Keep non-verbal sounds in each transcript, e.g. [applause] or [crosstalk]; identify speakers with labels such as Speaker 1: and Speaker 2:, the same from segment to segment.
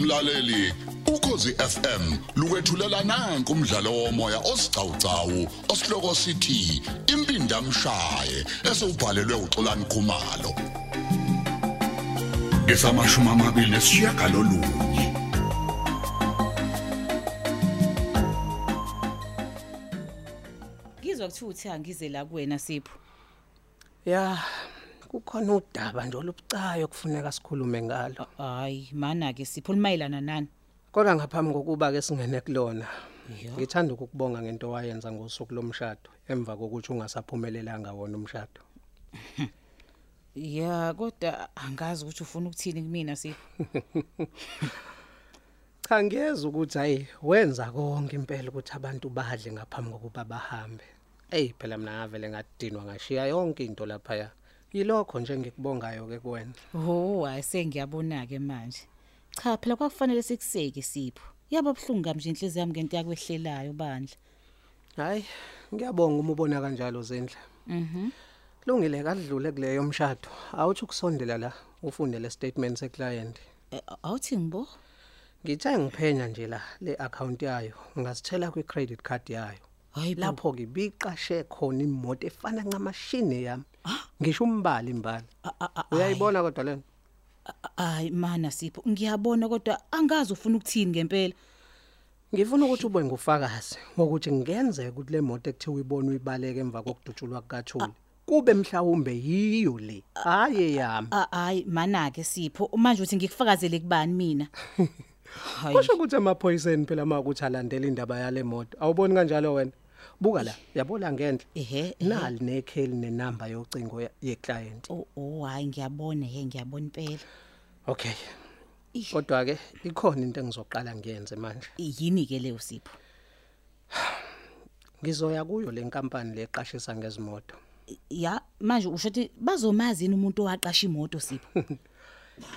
Speaker 1: mlaleli ukhosi FM lukwethulela nanku umdlalo womoya osiqhawqhawo osihloko sithi impinda mshaye esubhalelwe uXolani Khumalo ngesamashumi amabili esiyagalolunye
Speaker 2: ngizwa kuthiwa uthi angize la kuwena sipho
Speaker 3: Ya, kukhona udaba nje olubucayo kufuneka sikhulume ngalo.
Speaker 2: hayi mana ke sipho limayelana nani
Speaker 3: Kodwa ngaphambi kokuba ke singene kulona,
Speaker 2: Yeah.
Speaker 3: ngithanda ukukubonga ngento owayenza ngosuku lomshado emva kokuthi ungasaphumelelanga wona umshado.
Speaker 2: ya kodwa angazi ukuthi ufuna ukuthini kumina sipho
Speaker 3: Cha ngiyeza ukuthi hayi wenza konke impela ukuthi abantu badle ngaphambi kokuba bahambe. Ey phela mina ngavele ngadinwa ngashiya yonke into lapha ya. Yilokho nje ngikubongayo ke kuwena.
Speaker 2: ho hayi sengiyabona ke manje cha phela kwakufanele sikuseke sipho yaba buhlungu kami nje inhliziyo yami ngento yakwehlelayo bandla
Speaker 3: Hayi ngiyabonga uma ubona kanjalo zendla.
Speaker 2: mhm
Speaker 3: Kulungile kadlule kuleyo umshado. Awuthi ukusondela la ufunde le statement seclient.
Speaker 2: Eh, awuthi ngibo
Speaker 3: Ngithe ngiphenya nje la le account yayo, ngazithela kwi credit card yayo.
Speaker 2: hayi bo.
Speaker 3: Lapho ke biqashe khona imoto efana ncamashine yami. Ngisho umbali imbali.
Speaker 2: A- a- a-
Speaker 3: Uyayibona kodwa lena?
Speaker 2: a- hayi mana sipho ngiyabona kodwa angazi ufuna ukuthini ngempela
Speaker 3: Ngifuna ukuthi ube ngufakazi ukuthi ngenzeka ukuthi le moto ekuthe uyibona uyibaleke emva kokudutshulwa kukaThuli. Kube mhlawumbe yiyo le. Haye yami.
Speaker 2: Ah, hayi mana ke sipho manje uthi ngikufakazele kubani [laughs] mina hayi
Speaker 3: Kusho ukuthi emaphoyiseni phela makuthi alandela indaba yale moto. Awuboni kanjalo wena? Buka la, yabola ngenhla.
Speaker 2: ehe
Speaker 3: Nali nekheli nenamba yocingo ya- yeclient.
Speaker 2: Oh, oh hayi ngiyabona he ngiyabona impela.
Speaker 3: Okay.
Speaker 2: Ish.
Speaker 3: Kodwa ke ikhona into engizoqala ngiyenze manje.
Speaker 2: Yini ke leyo Sipho?
Speaker 3: Ngizoya kuyo le nkampani leqashisa ngezimoto.
Speaker 2: I- Ya manje usho ukuthi bazomazini umuntu owaqasha imoto Sipho.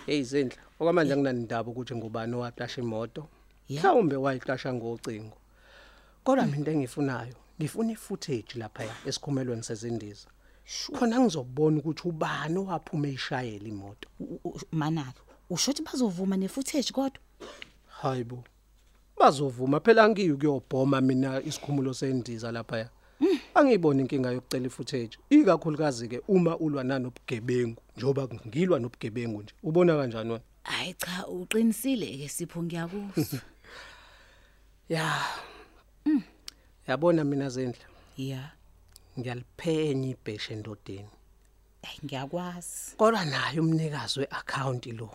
Speaker 3: Hey Zindla, okwamanje nginanindaba ukuthi ngubani owaqasha imoto.
Speaker 2: Yeah.
Speaker 3: Mhlawumbe wayiqasha ngocingo. Kodwa mina into engifunayo, ngifuna i-footage lapha esikhumelweni sezindiza. Khona ngizobona ukuthi ubani owaphume ishayela imoto.
Speaker 2: U- u- Manake usho ukuthi bazovuma nefootage kodwa.
Speaker 3: Hayibo. Bazovuma phela ngiyo kuyobhoma mina isikhumulo sendiza lapha. Angiyiboni inkinga yokucela ifootage. Ikakhulukazi ke uma ulwa nanobugebengu njoba ngilwa nobugebengu nje. Ubona kanjani wena?
Speaker 2: Hayi cha uqinisile ke Sipho ngiyakuzwa.
Speaker 3: Ya. Yabona mina zendla.
Speaker 2: [laughs] Ya.
Speaker 3: Ngiyaliphenya ibheshe endodeni.
Speaker 2: Hayi ngiyakwazi.
Speaker 3: Kodwa naye umnikazi weaccount lo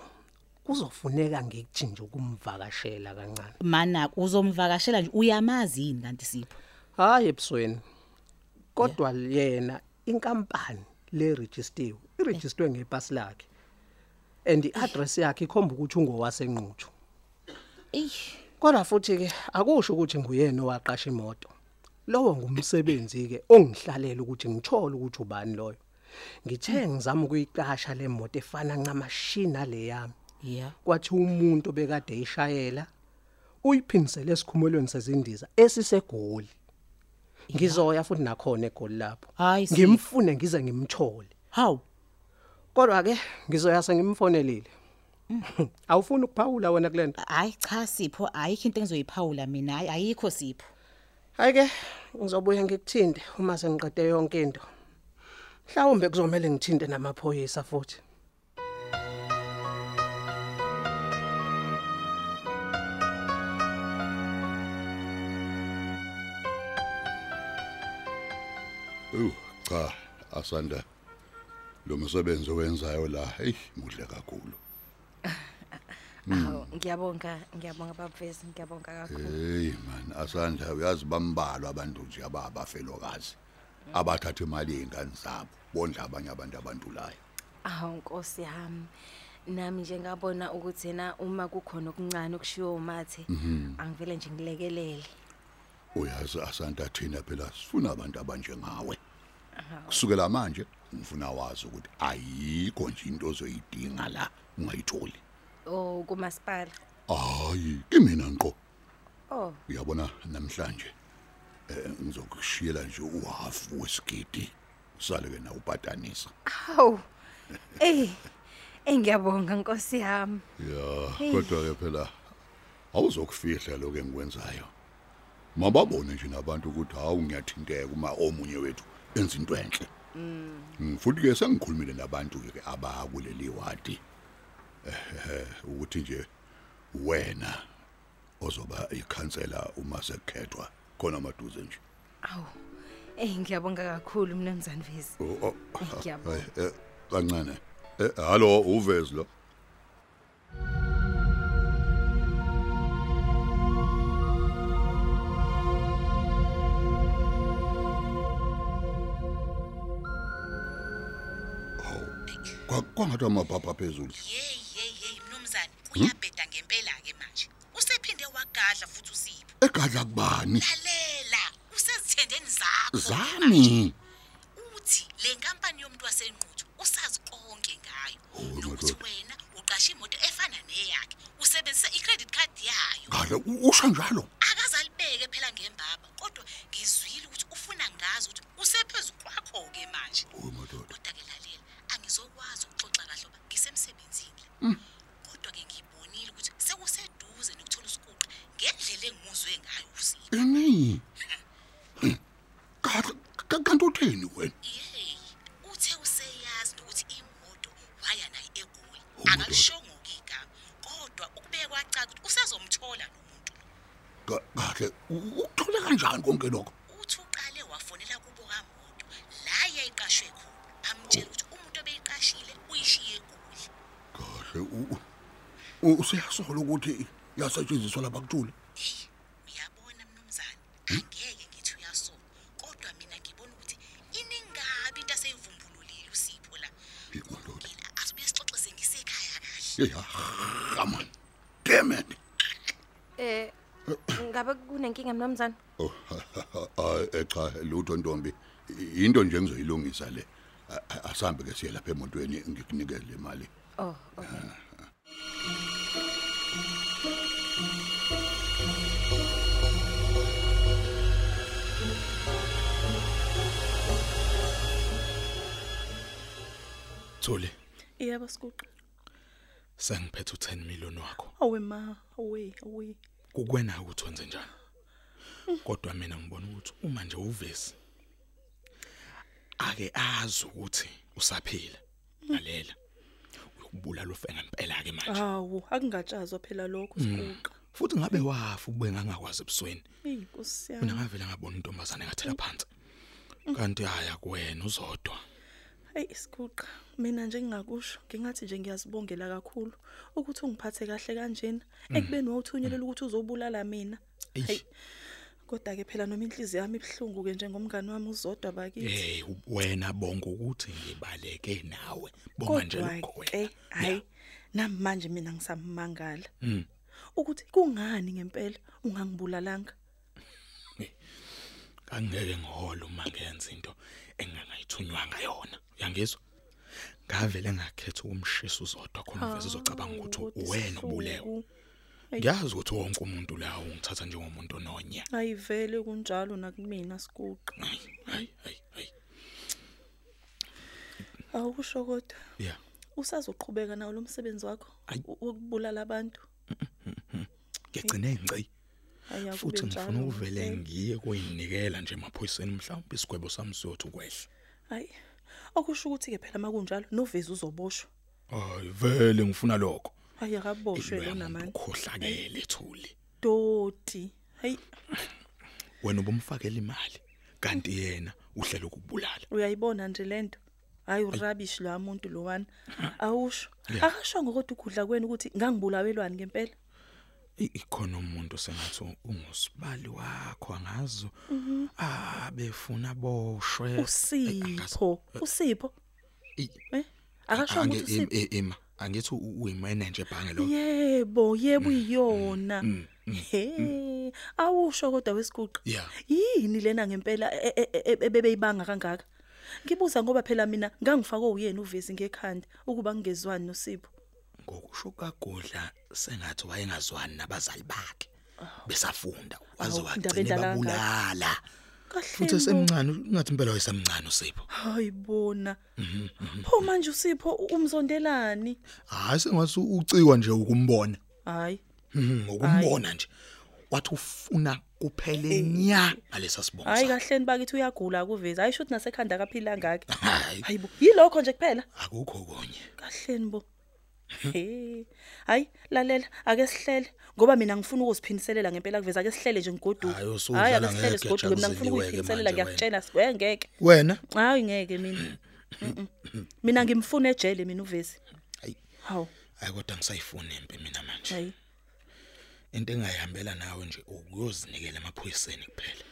Speaker 3: kuzofuneka ngikutshintshe ukumvakashela kancane.
Speaker 2: Manake uzomvakashela nje uyamazi yini kanti Sipho?
Speaker 3: Hayi ebusweni. Kodwa yena inkampani le registered, iregistered ngepasi lakhe. And iaddress yakhe ikhomba ukuthi ungowasenquthu.
Speaker 2: Ey.
Speaker 3: Kodwa futhi ke akusho ukuthi nguyena owaqasha imoto. Lowo ngumsebenzi ke ongihlalela ukuthi ngithole ukuthi ubani loyo. Ngithe ngizama ukuyiqasha le moto efana ncamashina le yami.
Speaker 2: Ya.
Speaker 3: kwathi umuntu obekade eyishayela uyiphindisele esikhumulweni sezindiza esisegoli ngizoya futhi nakhona egoli lapho
Speaker 2: Hayi, Sipho.
Speaker 3: ngimfune ngize ngimthole
Speaker 2: Haw.
Speaker 3: kodwa ke ngizoya sengimfonelile [laughs] awufuni ukuphawula wena kulento
Speaker 2: Hayi cha Sipho ayikho into engizoyiphawula mina hayi ayikho Sipho.
Speaker 3: hayi ke ngizobuya ngikuthinde uma sengiqede yonke into mhlawumbe kuzomela ngithinte namaphoyisa futhi
Speaker 1: Uh cha asanda lo msebenzi owenzayo la hey muhle kakhulu
Speaker 4: Awu ngiyabonga ngiyabonga babavezi ngiyabonga kakhulu.
Speaker 1: hey man asanda uyazi bambalwa abantu nje ababafelokazi abathatha imali yezingane zabo bondla abanye abantu abantulayo
Speaker 4: Awu Nkosi yami. Nami nje ngabona ukuthi na uma kukhona okuncane okushiwo umathe angivele nje ngilekelele.
Speaker 1: uyazi asanda thina phela sifuna abantu abanjengawe kusukela manje ngifuna wazi ukuthi ayikho nje into ozoyidinga la ungayitholi
Speaker 4: Oh kumasipala.
Speaker 1: hayi kimina nqo
Speaker 4: Oh
Speaker 1: uyabona namhlanje eh ngizokushiyela nje uhafu wesigidi sale ke na upatanisa
Speaker 4: awu. Ey. Ey ngiyabonga Nkosi yami.
Speaker 1: ya kodwa ke phela awuzokufihla lokho engikwenzayo mababone nje nabantu ukuthi hawu ngiyathinteka uma omunye wethu enza into enhle Mm, futhi ke sengikhulumile nabantu ke abakuleli wadi eh ukuthi nje wena ozoba ikhansela uma sekukhethwa khona maduze nje
Speaker 4: Awu. Ey ngiyabonga kakhulu mnumzane Vezi.
Speaker 1: Oh, oh.
Speaker 4: Ay, ngiyabonga.
Speaker 1: Ay, eh, kancane Eh, hallo uvezi lo Hawu, kwa- kwangathi amabhabha phezulu
Speaker 2: Hey hey hey mnumzane uyabheda ngempela ke manje. Usephinde wagadla futhi usipho.
Speaker 1: egadla kubani
Speaker 2: Lalela usezithendeni zakho.
Speaker 1: zami
Speaker 2: Uthi le nkampani yomuntu wasenquthu usazi konke ngayo.
Speaker 1: Oh,
Speaker 2: Nokuthi
Speaker 1: madod-
Speaker 2: wena uqashe imoto efana neyakhe. Usebenzisa i-credit card yayo.
Speaker 1: gadla u- usho njalo
Speaker 2: Akazalibeke phela ngembaba kodwa ngizwile ukuthi ufuna ngazi ukuthi usephezulu kwakho ke manje.
Speaker 1: Oh, madoda
Speaker 2: kodwa ke lalela angizokwazi ukuxoxa kahle ngoba ngisemsebenzini kodwa ke ngibonile ukuthi sekuseduze nokuthola isikuqa ngendlela engimuzwe ngayo uzini
Speaker 1: ini Hmm. gadla ka- kanti utheni wena
Speaker 2: yey uthe useyazi nokuthi imoto waya naye egoli
Speaker 1: madoda.
Speaker 2: akalishongo-ke igama kodwa ukubeke kwacaca ukuthi usezomthola lo muntu
Speaker 1: Ka- kahle u- ukuthole kanjani konke lokho
Speaker 2: uthi uqale wafonela kubo kamoto la yayiqashwe khona amtshela ukuthi umuntu obeyiqashile uyishiye egoli
Speaker 1: kahle u- u- usiyasola ukuthi yasetshenziswa lapha kuthule
Speaker 2: Hey, uyabona mnumzane angeke ngithi uyasola kodwa mina ngibona ukuthi iningabi into aseyivumbululile usipho la
Speaker 1: Hey, madoda.
Speaker 2: yena asibuye sixoxe ngisekhaya kahle
Speaker 1: yeyi hama demet
Speaker 4: Eh ngabe kunenkinga mnumzane?
Speaker 1: oh [laughs] hayi eh, cha lutho ntombi I- into nje engizoyilungisa le A- a- asihambe ke siye lapha emontweni ngikunikele le mali
Speaker 4: Oh, okay.
Speaker 5: Thole,
Speaker 6: Yebo sikuqa.
Speaker 5: sengiphethe u10 million wakho.
Speaker 6: Awe ma, awe, awe.
Speaker 5: Kukwena ukuthi wenze njani? Kodwa mina ngibona ukuthi uma nje uvesi ake azi ukuthi usaphila. Lalela. Uyokubulala ufenga impela ke manje.
Speaker 6: Hawu, akungatshazwa phela
Speaker 5: Mm.
Speaker 6: lokho sikuqa.
Speaker 5: Futhi ngabe wafa ube ngangakwazi ebusweni.
Speaker 6: Hey Nkosi
Speaker 5: Mina
Speaker 6: yami.
Speaker 5: ngavela ngabona intombazane ngathela phansi. Kanti haya kuwena uzodwa.
Speaker 6: Hey sikuqa, mina nje ngingakusho, ngingathi nje ngiyazibongela kakhulu ukuthi ungiphathe kahle kanjena ekubeni wawuthunyelele ukuthi uzobulala mina.
Speaker 5: Mm. Eish.
Speaker 6: Hey. Kodwa ke phela noma inhliziyo yami ibhlungu ke njengomngani wami uzodwa bakithi.
Speaker 5: Eh wena bonga ukuthi ngibaleke nawe. Bonga nje
Speaker 6: Kodwa
Speaker 5: lokho
Speaker 6: ke
Speaker 5: wena.
Speaker 6: hayi nami manje mina ngisamangala
Speaker 5: Mm.
Speaker 6: ukuthi kungani ngempela ungangibulalanga.
Speaker 5: Angeke ngihole uma ngenza into engangayithunywanga yona. Uyangizwa? Ngavele ngakhetha ukumshisa uzodwa khona uveze uzocabanga ukuthi
Speaker 6: Hawu, kodwa
Speaker 5: wena ubulewe.
Speaker 6: isihluku.
Speaker 5: Ngiyazi ukuthi wonke umuntu la ungithatha njengomuntu ononya.
Speaker 6: Ayivele kunjalo nakumina sikuqa.
Speaker 5: Hayi, hayi, hayi, hayi.
Speaker 6: Awusho kodwa
Speaker 5: Yeah.
Speaker 6: usazoqhubeka nawo lo msebenzi wakho
Speaker 5: Ayi.
Speaker 6: wo- wokubulala abantu.
Speaker 5: Ngigcine ngci.
Speaker 6: Aya
Speaker 5: Futhi ngifuna uvele
Speaker 6: ngivele.
Speaker 5: ngiye kuyinikela nje emaphoyiseni mhlawumbe isigwebo sami siyothi kwehla.
Speaker 6: Hayi. Okusho ukuthi ke phela makunjalo novezi uzoboshwa.
Speaker 5: Hayi vele ngifuna lokho.
Speaker 6: Hayi akaboshwe
Speaker 5: Impilo
Speaker 6: lona
Speaker 5: yomuntu
Speaker 6: manje.
Speaker 5: ukhohlakele Thuli.
Speaker 6: Doti. Hayi
Speaker 5: Wena ubumfakela imali kanti yena uhlela ukubulala.
Speaker 6: uyayibona nje lento. Hayi urabish lo umuntu lowana. Awusho. Akasho ngokuthi ukudla kweni ukuthi ngangibulawelwani ngempela.
Speaker 5: Eh, I- ikhona umuntu sengathi ungusibali wakho angazo
Speaker 6: Mhm.
Speaker 5: abefuna boshwe Eh, Ah, angazi.
Speaker 6: Usipho. Usipho.
Speaker 5: I-
Speaker 6: Eh? Akasho
Speaker 5: ange-
Speaker 6: ukuthi usipho.
Speaker 5: im- im- ima angithi uyimanager ebhange lo
Speaker 6: Yebo, yebo
Speaker 5: Mm,
Speaker 6: iyona. He, awusho kodwa wesiguqa.
Speaker 5: Yeah.
Speaker 6: Yini lena ngempela e- e- e- ebebeyibanga kangaka? Ngibuza ngoba phela mina ngangifakwe uyena uvezi ngekhanda ukuba ngingezwani noSipho.
Speaker 5: ngokusho kagodla sengathi wayengazwani nabazali bakhe besafunda waze
Speaker 6: Awu, indaba
Speaker 5: wagcina
Speaker 6: endala
Speaker 5: babulala
Speaker 6: Kahle.
Speaker 5: futhi esemncane ungathi impela wayesemncane usipho
Speaker 6: Hayibona.
Speaker 5: Mm-hmm,
Speaker 6: Pho manje uSipho u- umzondelani?
Speaker 5: hayi sengathi ucikwa nje ukumbona Hmm,
Speaker 6: Hayi.
Speaker 5: ngokumbona nje wathi ufuna kuphele nya ngalesa sibongo
Speaker 6: hayi
Speaker 5: sakhe.
Speaker 6: kahleni bakithi uyagula akuvezi ayisho ukuthi nasekhanda akaphila ngakhe
Speaker 5: Hayi.
Speaker 6: hayi bo yilokho nje kuphela
Speaker 5: akukho konye
Speaker 6: kahleni bo Hey, hayi lalela ake sihlele ngoba mina ngifuna ukuziphiniselela ngempela kuveza ake sihlele nje ngodudu.
Speaker 5: Hayi, usudlala
Speaker 6: ake sihlele
Speaker 5: ngegetsha
Speaker 6: sigodudu mina ngifuna
Speaker 5: uziliwe-ke manje
Speaker 6: ukuziphiniselela
Speaker 5: wena.
Speaker 6: ngiyakutshela siwe ngeke.
Speaker 5: wena
Speaker 6: Hayi ngeke mina. Mm-mm. Mina ngimfuna ejele mina uvezi.
Speaker 5: hayi
Speaker 6: Hawu,
Speaker 5: hayi kodwa ngisayifuna impi mina manje
Speaker 6: hayi.
Speaker 5: into engayihambela nawe nje ukuyozinikela emaphoyiseni kuphela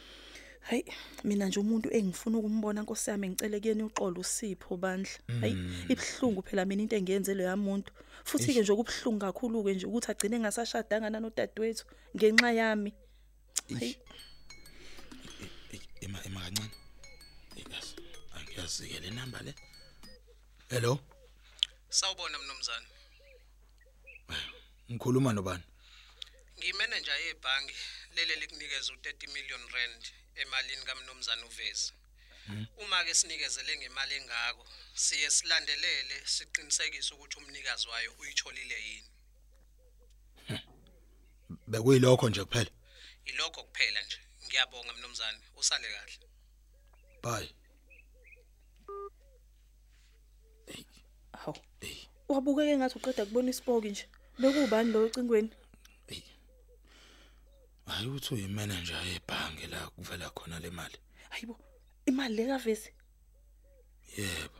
Speaker 6: Hayi, mina nje umuntu engifuna ukumbona Nkosi yami ngicela kuyena uxolo uSipho bandla. Hayi, ibhlungu phela mina into engiyenze lo yamuntu. Futhi ke nje okubhlungu kakhulu ke nje ukuthi agcine ngasashadanga nanodadewethu ngenxa yami. Hayi.
Speaker 5: Eyi, ema ema kancane yes angiyazi-ke le namba le hello
Speaker 7: Sawubona mnumzane.
Speaker 5: ngikhuluma nobani
Speaker 7: Ngiyimanager yebhangi lele likunikeza u30 million rand emalini kaMnumzane uVezi. Uma ke sinikezele ngemali engako, siye silandelele siqinisekise ukuthi umnikazi wayo uyitholile yini.
Speaker 5: bekuyilokho nje kuphela
Speaker 7: Yilokho kuphela nje. Ngiyabonga mnumzane, usale kahle.
Speaker 5: bye
Speaker 6: Hawu.
Speaker 5: eyi
Speaker 6: Wabukeke ngathi uqeda kubona isipoki nje. Bekubani lo ocingweni?
Speaker 5: eyi hayi uthi uyimanager yebhange la kuvela khona le mali
Speaker 6: Hayibo, imali le kavesi.
Speaker 5: yebo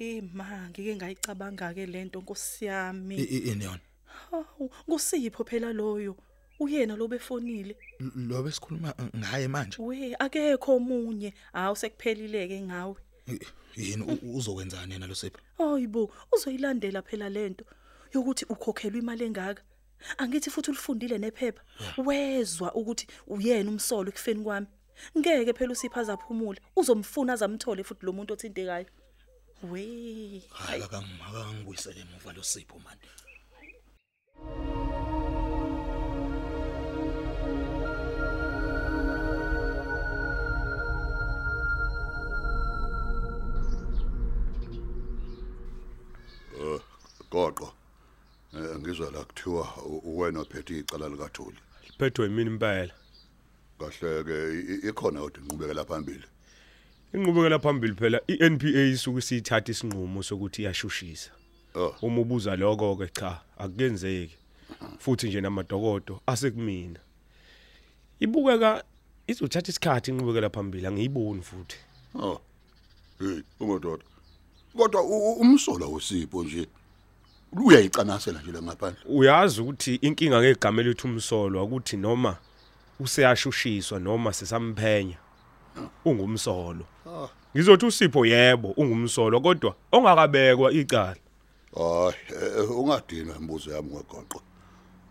Speaker 6: Eh ma, ngike ngayicabanga ke lento
Speaker 5: I-
Speaker 6: Nkosi yami.
Speaker 5: i- ini yona
Speaker 6: Hawu, kusipho phela loyo. Uyena lo befonile.
Speaker 5: L- lo besikhuluma ngaye manje
Speaker 6: We akekho omunye. Hawu sekuphelile ke ngawe.
Speaker 5: I- yini u- uzokwenzani yena lo sipho
Speaker 6: Hayibo, uzoyilandela phela lento yokuthi ukhokhelwa imali engaka. Angithi futhi ulifundile nephepha. Wezwa ukuthi uyena umsolo ekufeni kwami. Ngeke phela usipha zaphumule. Uzomfuna azamthole futhi lo muntu othintekayo. We.
Speaker 5: hayi akangibuyisele emuva lo sipho mani
Speaker 1: Goqo. Eh, Ngizwa la kuthiwa u- wena ophethe icala lika Thuli.
Speaker 8: Liphethwe yimini impela.
Speaker 1: Kahle ke i- i- ikhona kodwa inqubekela phambili.
Speaker 8: Inqubekela phambili phela iNPA isuke isithatha isinqumo sokuthi iyashushisa.
Speaker 1: Oh.
Speaker 8: Uma ubuza lokho ke cha, akuyenzeki. Futhi nje namadokodo asekumina. Ibukeka izothatha isikhathi inqubekela phambili angiyiboni futhi.
Speaker 1: Oh. Hey, umadoda. Kodwa u- u- umsolo usipho nje uyayicanasela nje la ngaphandle.
Speaker 8: Uyazi ukuthi inkinga ngegama elithi umsolo ukuthi noma useyashushiswa noma sesamphenya ungumsolo. Ngizothi usipho yebo ungumsolo kodwa ongakabekwa icala.
Speaker 1: Hayi, eh, ungadinwa imbuzo yami ngogoqo.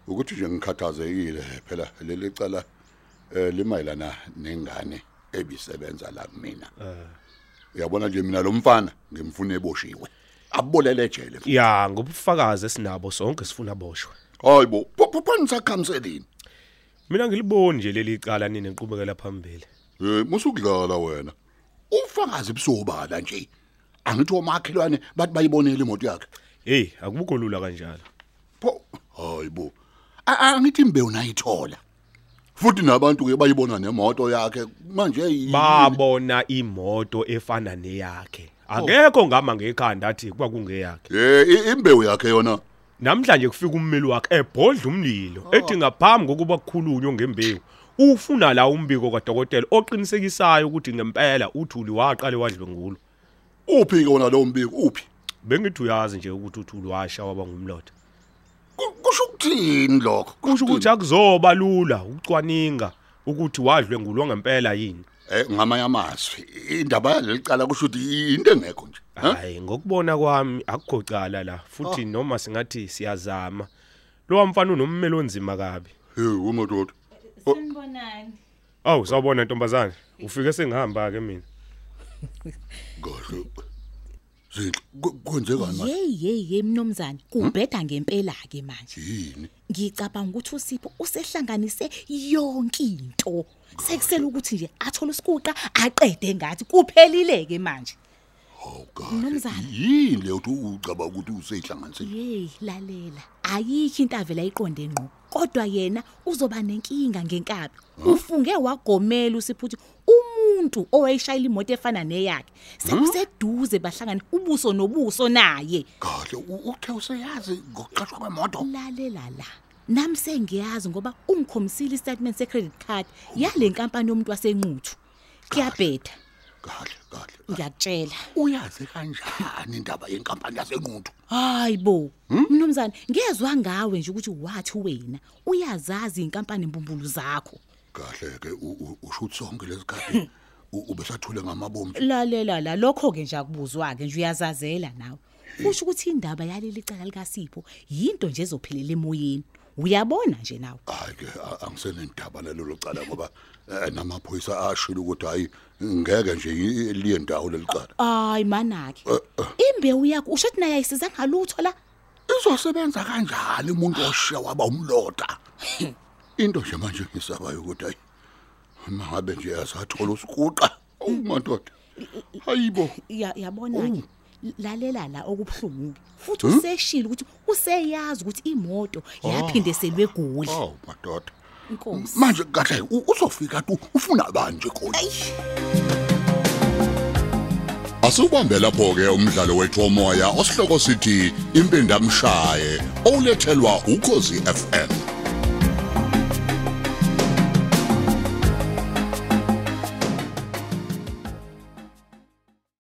Speaker 1: Ukuthi nje ngikhathazekile phela leli cala eh, limayelana nengane ebisebenza la kumina. Uyabona nje mina lo mfana ngimfuna eboshiwe. Abolele ejele.
Speaker 8: ya ngobufakazi esinabo sonke sifuna boshwe
Speaker 1: Hayibo, phuphuphani sakhamselini.
Speaker 8: mina ngiliboni nje leli cala nini enqubekela phambili
Speaker 1: Eh, musukudlala wena. Ufakazi busobala nje. Angithi omakhelwane bathi bayibonela imoto yakhe.
Speaker 8: hey akubukho lula kanjalo
Speaker 1: Pho, hayibo. A- Angithi imbewu nayithola. Futhi nabantu ke bayibona nemoto yakhe manje yini?
Speaker 8: babona imoto efana neyakhe akekho ngama ngekhanda athi kwakungeyakhe
Speaker 1: Eh, i- imbewu yakhe yona.
Speaker 8: namhlanje kufika ummeli wakhe ebhodla umlilo ethi ngaphambi kokuba kukhulunywe ngembewu ufuna la umbiko kadokotela oqinisekisayo ukuthi ngempela uthuli waqale wadlwe ngulo
Speaker 1: Uphi ke wona lo mbiko? Uphi?
Speaker 8: bengithi uyazi nje ukuthi uthuli washa waba ngumlotha
Speaker 1: Ku- Kusho ukuthini lokho?
Speaker 8: kusho ukuthi akuzoba lula ukucwaninga ukuthi wadlwe ngulwa ngempela yini
Speaker 1: eh ngamanye amazwi indaba yalicala kusho ukuthi into engekho nje. Ha?
Speaker 8: hayi ngokubona kwami akugocala la futhi noma singathi siyazama lo mfana unommeli onzima kabi
Speaker 1: Hey, umadoda.
Speaker 9: Sanibonani.
Speaker 8: awu sawubona ntombazane ufike sengihamba ke mina
Speaker 1: Gosh. Zinhle. ku- Kwenzekani manje?
Speaker 9: Hey hey hey mnomzane, kubheda ngempela ke manje.
Speaker 1: Yini?
Speaker 9: Ngicabanga ukuthi uSipho usehlanganise yonke into. Sekusela ukuthi nje athole isikuqa aqede ngathi kuphelile ke manje.
Speaker 1: Oh God.
Speaker 2: Mnumzane.
Speaker 1: Yini leyo uthi ucaba ukuthi usehlanganisile?
Speaker 2: Hey, lalela. Ayikho into avela iqonde ngqo. Kodwa yena uzoba nenkinga ngenkabi. Ufunge wagomela usiphuthi umuntu owayeshayila imoto efana neyakhe. Sekuseduze bahlangana ubuso nobuso naye.
Speaker 1: Kahle u- uthe useyazi ngokuqashwa kwemoto.
Speaker 2: Lalela la. Nami sengiyazi ngoba ungikhomisile istatement secredit card yale nkampani yomuntu wasenquthu. Kuyabheda,
Speaker 1: Kahle, kahle.
Speaker 2: ngiyakutshela.
Speaker 1: Uyazi kanjani indaba yenkampani yasenquthu?
Speaker 2: Hayibo, mnumzane, ngezwe ngawe nje ukuthi wathi wena uyazazi inkampani imbumbulu zakho.
Speaker 1: Kahle ke u- u- usho ukuthi sonke lesikhathi u- ubesathule ngamabomu.
Speaker 9: lalela la lokho ke nje
Speaker 2: Uzwa ke nje uyazazela nawe. Kusho ukuthi indaba yaleli cala lika Sipho yinto nje ezophelela emoyeni. Uyabona nje nawe.
Speaker 1: Hayi ke a- angisenendaba nalelo cala ngoba eh, namaphoyisa ashilo ukuthi hayi ngeke nje i- liye ndawo lelicala.
Speaker 2: Hayi manaki. Imbewu yakho usho ukuthi naye ayisiza ngalutho la.
Speaker 1: Izosebenza kanjani umuntu oshiya waba umloda? Into nje manje ngisabayo ukuthi hayi mangabe nje asathola usikuqa. Oh madoda. Hayibo.
Speaker 2: Ya- Yabona ke lalela la okubhlungu. Futhi useshila ukuthi useyazi ukuthi imoto yaphindeselwe egoli.
Speaker 1: Oh madoda.
Speaker 2: Inkosi.
Speaker 1: Manje kahle u- uzofika tu ufuna banje khona. Asubambe lapho ke umdlalo wethu omoya osihloko sithi impindamshaye olethelwa ukozi FM.